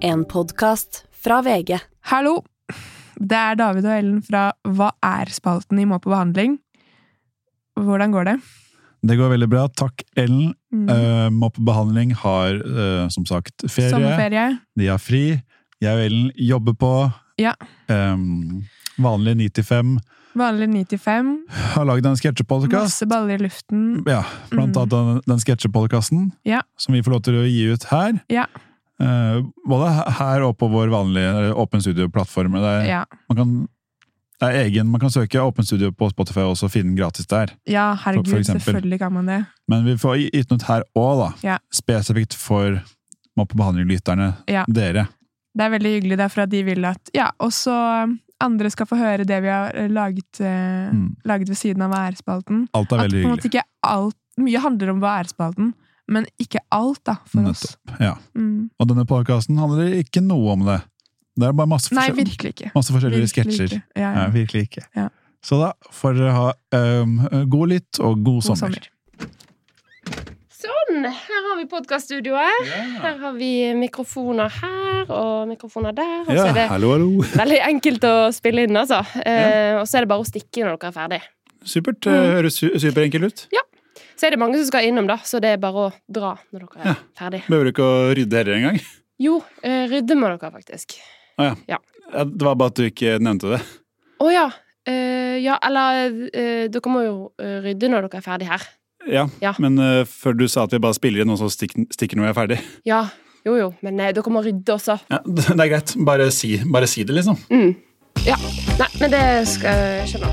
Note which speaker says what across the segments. Speaker 1: En podkast fra VG.
Speaker 2: Hallo! Det er David og Ellen fra Hva er-spalten i Må på behandling. Hvordan går det?
Speaker 3: Det går veldig bra. Takk, Ellen.
Speaker 2: Mm.
Speaker 3: Uh, Moppebehandling har eh, som sagt ferie.
Speaker 2: Sommerferie?
Speaker 3: De har fri. Jeg og Ellen jobber på.
Speaker 2: Ja.
Speaker 3: Um, vanlig 95.
Speaker 2: Vanlig 9 til 5.
Speaker 3: Har lagd en sketsjepodkast.
Speaker 2: Masse baller i luften.
Speaker 3: Ja, blant
Speaker 2: Mm.
Speaker 3: annet den, den sketsjepodkasten
Speaker 2: Ja.
Speaker 3: som vi får lov til å gi ut her.
Speaker 2: Ja.
Speaker 3: Eh, både her og på vår vanlige eller Åpen Studio-plattform. Det, er-
Speaker 2: Ja,
Speaker 3: man kan- det er egen. Man kan søke Åpen Studio på Spotify og så finne den gratis der.
Speaker 2: ja
Speaker 3: For- for
Speaker 2: herregud,
Speaker 3: eksempel.
Speaker 2: selvfølgelig kan man det.
Speaker 3: Men vi får gi- gitt noe her òg, da.
Speaker 2: Ja.
Speaker 3: Spesifikt for mobbebehandling-lytterne.
Speaker 2: Ja.
Speaker 3: Dere.
Speaker 2: Det er veldig hyggelig derfor at de vil at ja, også um, andre skal få høre det vi har eh, laget, eh,
Speaker 3: Mm.
Speaker 2: laget ved siden av Hva er-spalten.
Speaker 3: Alt er
Speaker 2: At på en
Speaker 3: veldig hyggelig.
Speaker 2: måte ikke alt Mye handler om Hva er-spalten, men ikke alt, da, for oss.
Speaker 3: Ja.
Speaker 2: Mm.
Speaker 3: Og denne podkasten handler ikke noe om det. Det er bare masse,
Speaker 2: Nei,
Speaker 3: forskjell-
Speaker 2: virkelig ikke.
Speaker 3: masse forskjellige
Speaker 2: Virkelig
Speaker 3: sketsjer.
Speaker 2: ikke. Ja,
Speaker 3: Ja,
Speaker 2: ja.
Speaker 3: virkelig ikke.
Speaker 2: Ja.
Speaker 3: Så da får dere ha øhm, god lytt og god,
Speaker 2: God
Speaker 3: sommer.
Speaker 2: sommer.
Speaker 4: Sånn, her har vi podkaststudioet. Her har vi mikrofoner her og mikrofoner der. Og så er det
Speaker 3: hallo, hallo.
Speaker 4: veldig enkelt å spille inn, altså. Eh, og så er det bare å stikke når dere er ferdig.
Speaker 3: Supert.
Speaker 2: Mm.
Speaker 3: Høres superenkelt ut.
Speaker 4: Så er det mange som skal innom, da, så det er bare å dra når dere er ferdig.
Speaker 3: Behøver du ikke å rydde dette engang?
Speaker 4: Jo, eh, rydde må dere faktisk.
Speaker 3: Det var bare at du ikke nevnte det.
Speaker 4: Å ja. Eh, ja, eller eh, Dere må jo eh, rydde når dere er ferdig her.
Speaker 3: Ja,
Speaker 4: Ja.
Speaker 3: Men øh, før du sa at vi bare spiller inn, og så stikker, stikker når vi er ferdig.
Speaker 4: Ja. Jo, jo, men eh, dere må rydde også.
Speaker 3: Ja, det er greit. Bare si, bare si det, liksom.
Speaker 4: Mm. Ja. Nei, men det skal jeg skjønne.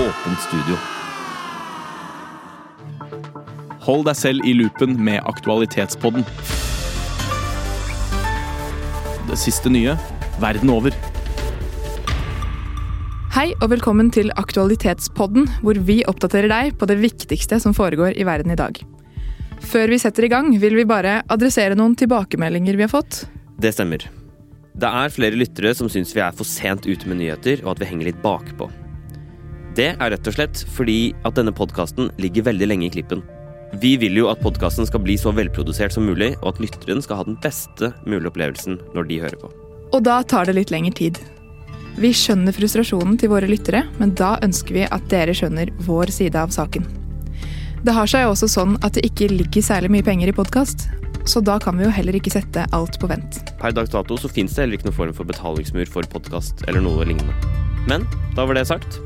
Speaker 5: Åpent studio. Hold deg selv i loopen med Aktualitetspodden. Det siste nye verden over.
Speaker 2: Hei og velkommen til Aktualitetspodden, hvor vi oppdaterer deg på det viktigste som foregår i verden i dag. Før vi setter i gang, vil vi bare adressere noen tilbakemeldinger vi har fått.
Speaker 6: Det stemmer. Det er flere lyttere som syns vi er for sent ute med nyheter, og at vi henger litt bakpå. Det er rett og slett fordi at denne podkasten ligger veldig lenge i klippen. Vi vil jo at podkasten skal bli så velprodusert som mulig, og at lytteren skal ha den beste mulige opplevelsen når de hører på.
Speaker 2: Og da tar det litt lengre tid. Vi skjønner frustrasjonen til våre lyttere, men da ønsker vi at dere skjønner vår side av saken. Det har seg jo også sånn at det ikke ligger særlig mye penger i podkast, så da kan vi jo heller ikke sette alt på vent.
Speaker 6: Per dags dato så fins det heller ikke noen form for betalingsmur for podkast eller noe lignende. Men da var det sagt.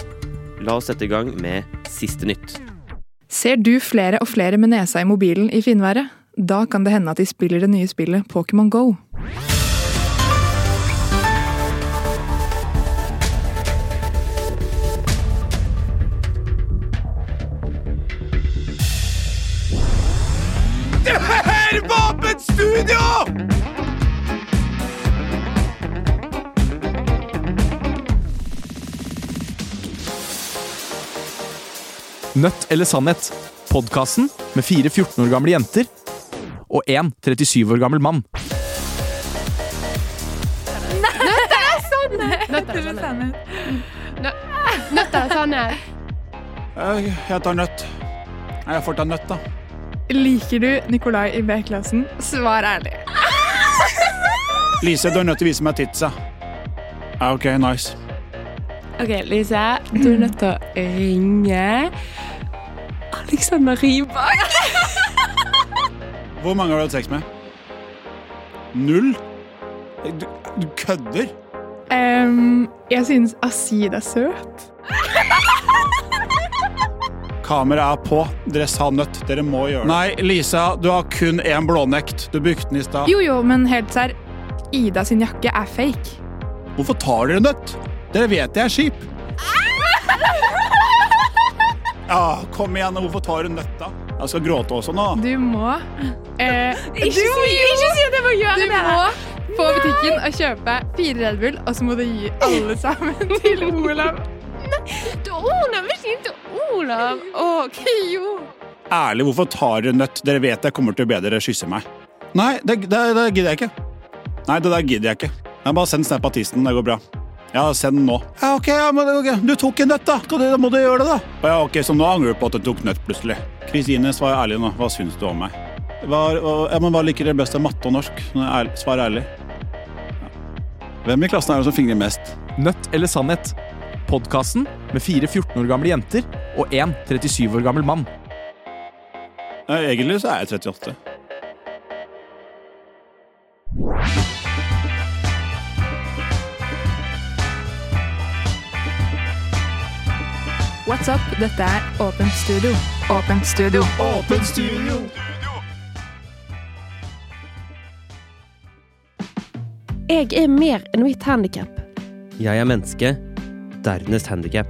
Speaker 6: La oss sette i gang med siste nytt.
Speaker 2: Ser du flere og flere med nesa i mobilen i finværet? Da kan det hende at de spiller det nye spillet Pokémon Go.
Speaker 5: Nødt eller sannhet? Podkasten med fire 14 år gamle jenter og en 37 år gammel mann.
Speaker 4: Nøtter og sannhet.
Speaker 3: Jeg tar nøtt. Nei, jeg får ta nøtt, da.
Speaker 2: Liker du Nikolai i B-klassen? Svar ærlig.
Speaker 3: Lise, du er nødt til å vise meg titsa. Ja, ok, nice.
Speaker 7: Ok, Lise, du er nødt til å ringe Alexander Rybak.
Speaker 3: Hvor mange har du hatt sex med? Null? Du, du kødder?
Speaker 2: jeg synes Asid er søt.
Speaker 3: Kameraet er på. Dere sa nøtt. Dere må gjøre det. Nei, Lisa, du har kun én blånekt. Du brukte den i stad.
Speaker 2: Jo, jo, men helt serr. Ida sin jakke er fake.
Speaker 3: Hvorfor tar dere nøtt? Dere vet jeg er kjip. Ja, Ah, kom igjen. Hvorfor tar du nøtt, da? Jeg skal gråte også nå.
Speaker 2: Du må eh,
Speaker 7: Ikke si at jeg må gjøre
Speaker 2: Du må på butikken butikken og kjøpe fire Red Bull, og så må du gi alle sammen til Olav.
Speaker 4: Til Olav! Ikke inn til Olav! OK, jo.
Speaker 3: Ærlig, hvorfor tar dere nøtt? Dere vet jeg kommer til å be dere kysse meg. Nei, det, det, det gidder jeg ikke. Nei, det der gidder jeg ikke. Jeg bare send snap av tissen, det går bra. Ja, send den nå. Ja, ok, ja, men, ok, du tok en nøtt, da. Kan du- Da må du gjøre det, da. Ja, ok, Så nå angrer du på at du tok nøtt, plutselig. Kristine, svar ærlig nå. Hva syns du om meg? Hva, hva- ja, men hva liker dere best av matte og norsk? Nå er ærlig- Svar ærlig. Ja. Hvem i klassen er det som fingrer mest?
Speaker 5: Nødt eller sannhet? Podkasten med fire 14 år gamle jenter og en 37 år gammel mann.
Speaker 3: Ja, egentlig så er jeg 38.
Speaker 2: What's up? Dette er Åpent studio. Åpent studio.
Speaker 5: Åpent studio!
Speaker 4: Jeg er mer enn mitt handikap.
Speaker 6: Jeg er menneske, dernest handikap.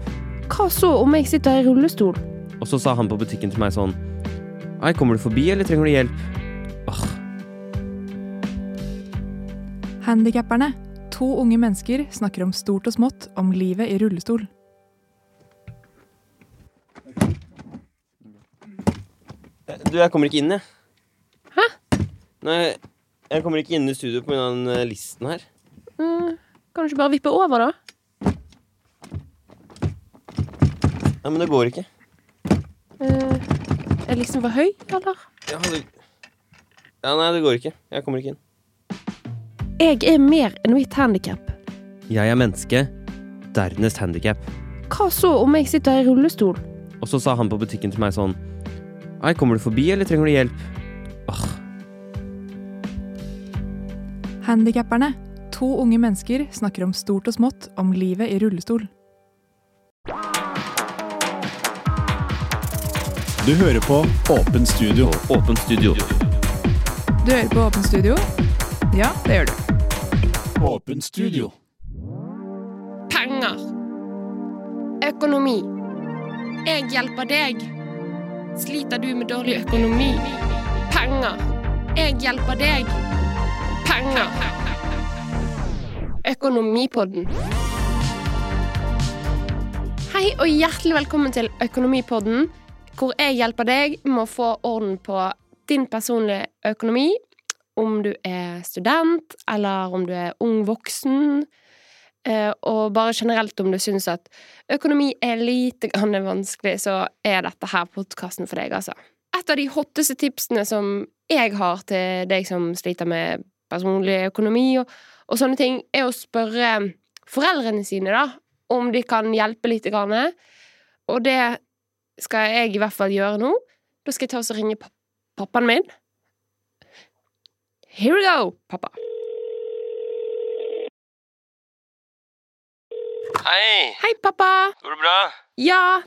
Speaker 4: Hva så om jeg sitter i rullestol?
Speaker 6: Og så sa han på butikken til meg sånn Nei, kommer du forbi, eller trenger du hjelp? Åh,
Speaker 2: Handikapperne. To unge mennesker snakker om stort og smått om livet i rullestol.
Speaker 6: Du, jeg kommer ikke inn, jeg. Hæ? Nei, jeg kommer ikke inn i studio pga. den eh, listen her.
Speaker 4: Kan du ikke bare vippe over, da?
Speaker 6: Nei, men det går ikke.
Speaker 4: Eh, er liksom for høy, eller?
Speaker 6: Jeg hadde... Ja, nei, det går ikke. Jeg kommer ikke inn.
Speaker 4: Jeg er mer enn mitt handikap.
Speaker 6: Jeg er menneske, dernest handikap.
Speaker 4: Hva så om jeg sitter i rullestol?
Speaker 6: Og så sa han på butikken til meg sånn Nei, kommer du forbi, eller trenger du hjelp? Åh,
Speaker 2: Handikapperne. To unge mennesker snakker om stort og smått om livet i rullestol.
Speaker 3: Du hører på Åpen studio.
Speaker 6: åpent studio.
Speaker 2: Du hører på Åpent studio? Ja, det gjør du.
Speaker 3: Åpen studio.
Speaker 4: Penger. Økonomi. Jeg hjelper deg. Sliter du med dårlig økonomi? Penger. Jeg hjelper deg. Penger. Økonomipodden. Hei og hjertelig velkommen til Økonomipodden, hvor jeg hjelper deg med å få orden på din personlige økonomi, om du er student, eller om du er ung voksen, Eh, Og bare generelt om du syns at økonomi er lite grann vanskelig, så er dette her podkasten for deg, altså. Et av de hotteste tipsene som jeg har til deg som sliter med personlig økonomi og, og sånne ting, er å spørre foreldrene sine, da, om de kan hjelpe lite grann. Og det skal jeg i hvert fall gjøre nå. Da skal jeg ta oss og ringe pa- pappaen min. Here we go, pappa.
Speaker 8: Hei,
Speaker 4: Hei, pappa!
Speaker 8: går det bra?
Speaker 4: Ja,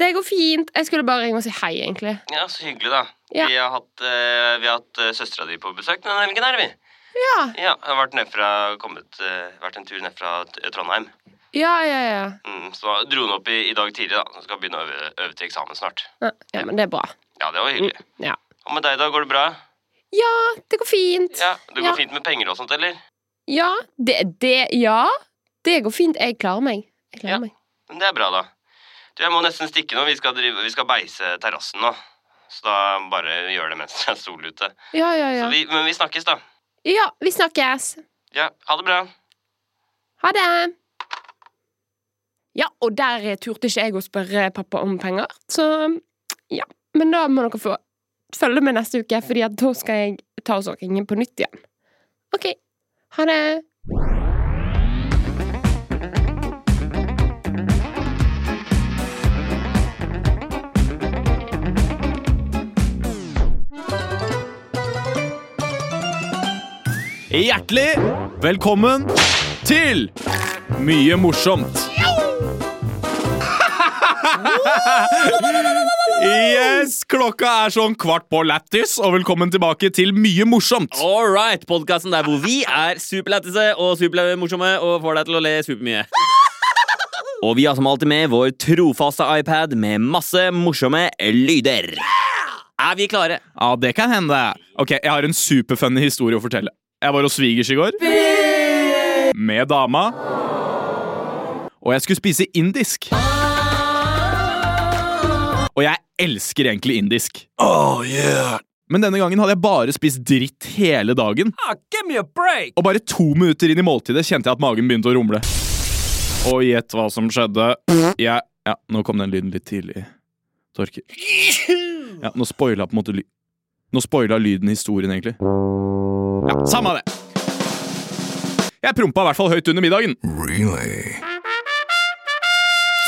Speaker 4: det går fint. Jeg skulle bare ringe og si hei, egentlig.
Speaker 8: Ja, så hyggelig da.
Speaker 4: Ja.
Speaker 8: Vi har hatt, uh, hatt eh, søstra di på besøk denne helgen her, vi.
Speaker 4: Ja,
Speaker 8: Ja, jeg har vært, ned fra, kommet, eh, vært en tur ned fra T- eh, Trondheim.
Speaker 4: ja, ja. ja.
Speaker 8: Mm, så da dro hun opp i, i dag tidlig da, så skal hun begynne å øve, øve til eksamen snart.
Speaker 4: Ja, Ja, men det er bra.
Speaker 8: Ja, det var hyggelig.
Speaker 4: Mm, Ja.
Speaker 8: Og med deg da, går det bra?
Speaker 4: Ja, det går fint.
Speaker 8: Ja, det går
Speaker 4: Ja.
Speaker 8: fint med penger og sånt, eller?
Speaker 4: Ja, det, det Ja, det går fint. Jeg klarer meg. Jeg klarer
Speaker 8: Ja.
Speaker 4: meg.
Speaker 8: Men det er bra da. Du, jeg må nesten stikke nå, vi skal, drive, vi skal beise terrassen nå. Så da bare gjør det mens det er sol ute.
Speaker 4: Ja, ja,
Speaker 8: Så
Speaker 4: ja.
Speaker 8: Vi, men vi snakkes da.
Speaker 4: Ja, vi snakkes.
Speaker 8: Ja, ha det bra.
Speaker 4: Ha det! Ja, og der eh, turte ikke jeg å spørre pappa om penger, så ja. Men da må dere få følge med neste uke, fordi at da skal jeg ta oss og ringe på nytt igjen. OK. Ha det!
Speaker 5: Hjertelig velkommen til Mye morsomt. Yes, klokka er sånn kvart på lættis, og velkommen tilbake til Mye morsomt.
Speaker 6: All right, podkasten der hvor vi er superlættise og supermorsomme og får deg til å le supermye. Og vi har som alltid med vår trofaste iPad med masse morsomme lyder. Er vi klare?
Speaker 5: Ja, det kan hende. Ok, Jeg har en superfunny historie å fortelle. Jeg var hos svigers i går. Med dama. Og jeg skulle spise indisk. Og jeg elsker egentlig indisk. Men denne gangen hadde jeg bare spist dritt hele dagen. Og bare to minutter inn i måltidet kjente jeg at magen begynte å rumle. Og gjett hva som skjedde. Jeg Ja, nå kom den lyden litt tidlig, Torkil. Ja, nå spoila på en måte ly... Nå spoila lyden historien, egentlig. Ja, samme det. Jeg prompa i hvert fall høyt under middagen.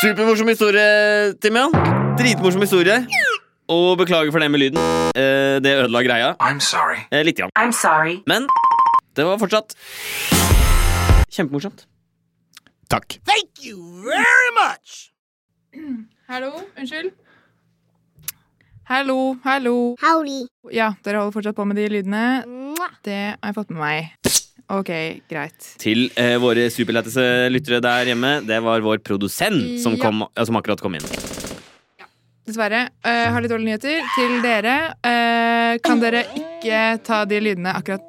Speaker 9: Supermorsom historie, Timian. Dritmorsom historie. Og beklager for det med lyden. Eh, det ødela greia.
Speaker 10: I'm sorry.
Speaker 9: Eh, Litt. Grann.
Speaker 10: I'm sorry.
Speaker 9: Men det var fortsatt kjempemorsomt.
Speaker 5: Takk.
Speaker 2: Hallo, unnskyld. Hallo, hallo. Ja, dere holder fortsatt på med de lydene. Det har jeg fått med meg. Ok, greit.
Speaker 9: Til eh, våre superlætteste lyttere der hjemme. Det var vår produsent som,
Speaker 2: Ja.
Speaker 9: kom, ja, som akkurat kom inn.
Speaker 2: Dessverre. Eh, har litt dårlige nyheter til dere. Eh, kan dere ikke ta de lydene akkurat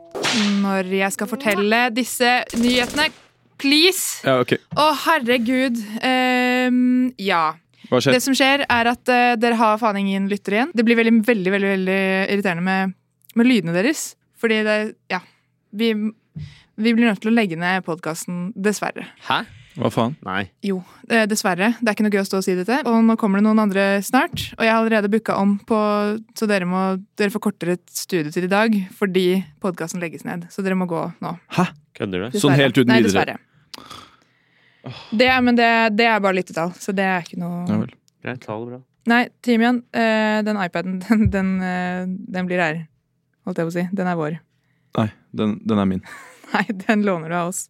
Speaker 2: når jeg skal fortelle disse nyhetene? Please!
Speaker 5: Ja, ok.
Speaker 2: Å, herregud. Ehm, ja.
Speaker 5: Hva
Speaker 2: Det
Speaker 5: skjer?
Speaker 2: som skjer, er at eh, dere har faen ingen lytter igjen. Det blir veldig, veldig veldig, veldig irriterende med, med lydene deres. Fordi det Ja. Vi, vi blir nødt til å legge ned podkasten, dessverre.
Speaker 9: Hæ?
Speaker 5: Hva faen?
Speaker 9: Nei.
Speaker 2: Jo, eh, dessverre. Det er ikke noe gøy å stå og si dette. Og nå kommer det noen andre snart. Og jeg har allerede booka om på Så dere må Dere får kortere studietid i dag fordi podkasten legges ned. Så dere må gå nå.
Speaker 9: Kødder du?
Speaker 5: Sånn helt uten
Speaker 2: Nei,
Speaker 5: videre.
Speaker 2: dessverre. Det, er- men det, det er bare lyttetall, så det er ikke noe
Speaker 5: Ja vel.
Speaker 9: Greit, ta det bra.
Speaker 2: Nei, Timian, eh, den iPaden, den, den, eh, den blir her. Holdt jeg på å si. Den er vår.
Speaker 5: Nei, den, den er min.
Speaker 2: Nei, den låner du av oss.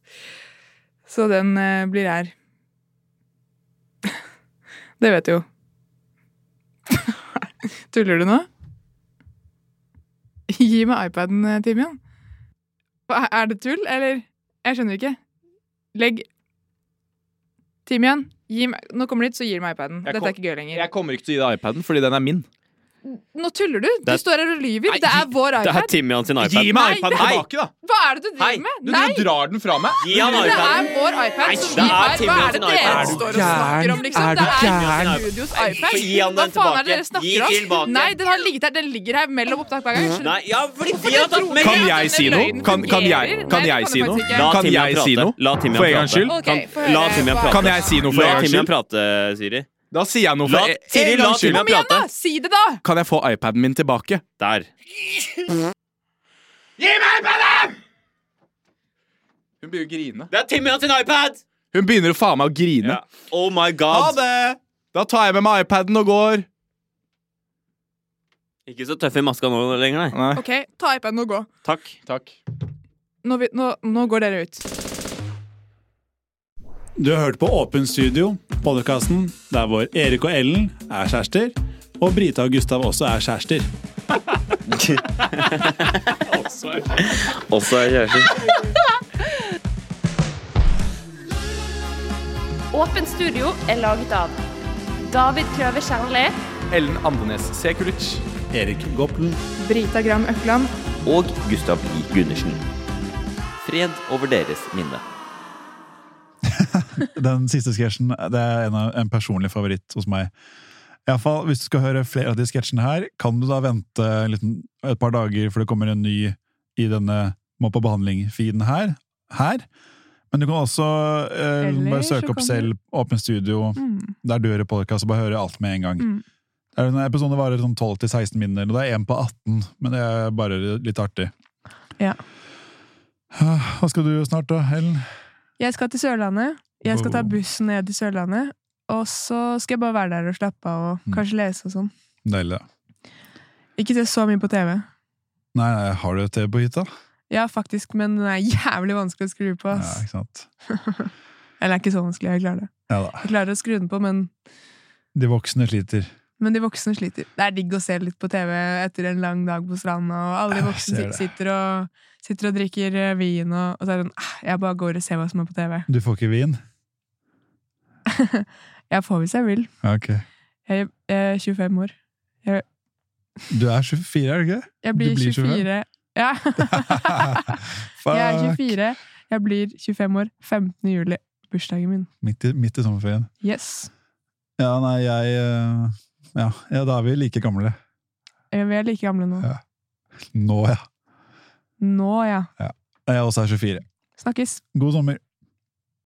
Speaker 2: Så den eh, blir her. Det vet du jo. Tuller du nå? Gi meg iPaden, eh, Timian. Hva- Er det tull, eller? Jeg skjønner ikke. Legg Timian, gi meg Nå kommer du hit, så gir du meg iPaden.
Speaker 5: Jeg
Speaker 2: Dette
Speaker 5: kom-
Speaker 2: er ikke gøy lenger.
Speaker 5: Jeg kommer ikke til å gi deg iPaden, fordi den er min.
Speaker 2: Nå tuller du! Du
Speaker 9: Det er-
Speaker 2: står her og lyver.
Speaker 9: Nei,
Speaker 2: Det er
Speaker 9: gi-
Speaker 2: vår
Speaker 9: Det er
Speaker 2: iPad.
Speaker 9: Timian sin iPad.
Speaker 5: Gi
Speaker 2: Nei,
Speaker 5: meg iPaden
Speaker 9: nei.
Speaker 5: tilbake, da!
Speaker 2: Hva er det du
Speaker 9: Hei,
Speaker 2: driver med?
Speaker 5: Du, driver og drar den fra meg.
Speaker 9: Gi han
Speaker 2: Det er
Speaker 9: iPaden.
Speaker 2: vår iPad
Speaker 9: Nei,
Speaker 2: som vi
Speaker 9: det er
Speaker 2: har. Hva er det
Speaker 9: Timian sin
Speaker 2: dere
Speaker 9: iPad.
Speaker 2: står og
Speaker 5: Er du
Speaker 2: snakker om,
Speaker 5: gæren?
Speaker 2: liksom?
Speaker 5: Er
Speaker 2: Det
Speaker 5: du
Speaker 2: er
Speaker 5: gæren?
Speaker 2: studios
Speaker 9: Nei,
Speaker 2: iPad.
Speaker 9: gi han
Speaker 2: Hva
Speaker 9: den
Speaker 2: faen er det
Speaker 9: tilbake.
Speaker 2: dere snakker om?
Speaker 9: Gi tilbake.
Speaker 2: Nei, den har ligget der. Den ligger her mellom opptak hver gang. Skjønner
Speaker 9: Nei,
Speaker 2: du?
Speaker 9: ja, fordi de har tatt med
Speaker 5: Kan
Speaker 2: Ja,
Speaker 5: jeg
Speaker 2: den
Speaker 5: si noe?
Speaker 2: løgnen
Speaker 5: Kan, kan jeg,
Speaker 2: fungerer.
Speaker 5: kan
Speaker 2: Nei,
Speaker 5: jeg
Speaker 2: det
Speaker 5: si
Speaker 2: kan du
Speaker 5: noe?
Speaker 2: faktisk ikke.
Speaker 9: La
Speaker 5: Kan
Speaker 9: Timian
Speaker 5: jeg
Speaker 9: prate.
Speaker 5: si noe?
Speaker 9: La Timian
Speaker 5: For en gangs
Speaker 9: prate.
Speaker 5: skyld?
Speaker 2: Ok,
Speaker 9: Kan-
Speaker 2: få høre
Speaker 9: la Timian
Speaker 2: hva-
Speaker 9: prate.
Speaker 5: Kan jeg si noe for
Speaker 9: La
Speaker 5: en gangs
Speaker 9: Timian
Speaker 5: skyld?
Speaker 9: prate, Siri.
Speaker 5: Da sier jeg noe
Speaker 9: La-
Speaker 5: for en-
Speaker 9: Siri,
Speaker 5: en
Speaker 9: la
Speaker 5: gangs skyld.
Speaker 9: Timian
Speaker 2: Kom igjen, da!
Speaker 9: prate.
Speaker 2: Si det, da!
Speaker 5: Kan jeg få iPaden min tilbake?
Speaker 9: Der.
Speaker 5: Hun begynner å grine.
Speaker 9: Det er Timian sin iPad!
Speaker 5: Hun begynner å faen meg å grine.
Speaker 9: Ja. Oh my
Speaker 5: Ha
Speaker 9: god.
Speaker 5: det! Da tar jeg med meg iPaden og går.
Speaker 9: Ikke så tøff i maska nå lenger, nei.
Speaker 5: Nei,
Speaker 2: OK, ta iPaden og gå.
Speaker 9: Takk.
Speaker 5: takk.
Speaker 2: Nå, vi- nå, nå går dere ut.
Speaker 11: Du har hørt på Åpen Studio, podkasten der hvor Erik og Ellen er kjærester, og Brita og Gustav også er kjærester.
Speaker 9: Også er kjæresten.
Speaker 4: Åpent studio er laget av David Kløve Kjernli.
Speaker 5: Ellen Andenes Sekulic.
Speaker 11: Erik Goppelen.
Speaker 2: Brita Gram Økland.
Speaker 9: og Gustav I. Gundersen. Fred over deres minne.
Speaker 3: Den siste sketsjen det er en, av, en personlig favoritt hos meg. I alle fall, Hvis du skal høre flere av de sketsjene her, kan du da vente en liten, et par dager, for det kommer en ny i denne Må på behandling-feeden her, her. Men du kan også eh,
Speaker 2: Eller
Speaker 3: bare
Speaker 2: så
Speaker 3: søke opp
Speaker 2: kan
Speaker 3: selv, Åpen studio,
Speaker 2: Mm.
Speaker 3: der du hører podkast, og bare høre alt med en gang.
Speaker 2: Mm.
Speaker 3: Det er en episode varer sånn 12-16 minutter, og det er en på 18, men det er bare litt artig. Ah,
Speaker 2: Ja.
Speaker 3: Hva skal du snart, da, Ellen?
Speaker 12: Jeg skal til Sørlandet. Jeg skal ta
Speaker 3: Oh.
Speaker 12: bussen ned til Sørlandet. Og så skal jeg bare være der og slappe av og
Speaker 3: Mm.
Speaker 12: kanskje lese og sånn.
Speaker 3: Deilig, da.
Speaker 12: Ikke se så mye på TV.
Speaker 3: Nei, nei, har du TV på hytta?
Speaker 12: Ja, faktisk, men den er jævlig vanskelig å skru på.
Speaker 3: Ja,
Speaker 12: ass.
Speaker 3: ikke sant?
Speaker 12: Eller det er ikke så vanskelig, jeg klarer det.
Speaker 3: Ja da.
Speaker 12: Jeg klarer å skru den på, men,
Speaker 3: De voksne sliter.
Speaker 12: men de voksne sliter. Det er digg å se litt på TV etter en lang dag på stranda, og alle de
Speaker 3: Jeg
Speaker 12: voksne
Speaker 3: ser det.
Speaker 12: sit- sitter og, sitter og drikker eh, vin, og, og så er det sånn ah, Jeg bare går og ser hva som er på TV.
Speaker 3: Du får ikke vin?
Speaker 12: Jeg får hvis jeg vil.
Speaker 3: Ja, Ok.
Speaker 12: Jeg jeg er 25 år.
Speaker 3: Du er 24, er du ikke?
Speaker 12: Jeg
Speaker 3: Du
Speaker 12: blir
Speaker 3: blir
Speaker 12: 24
Speaker 2: Ja.
Speaker 3: Fuck!
Speaker 2: Jeg er 24. Jeg blir 25 år 15. juli. Bursdagen min.
Speaker 3: Midt i, midt i sommerferien.
Speaker 2: Yes.
Speaker 3: Ja, nei, jeg eh, ja, ja, da er vi like gamle.
Speaker 2: Eh, Vi er like gamle nå.
Speaker 3: Ja. Nå, ja.
Speaker 2: Nå, ja.
Speaker 3: Jeg også er 24.
Speaker 2: Snakkes.
Speaker 3: God sommer.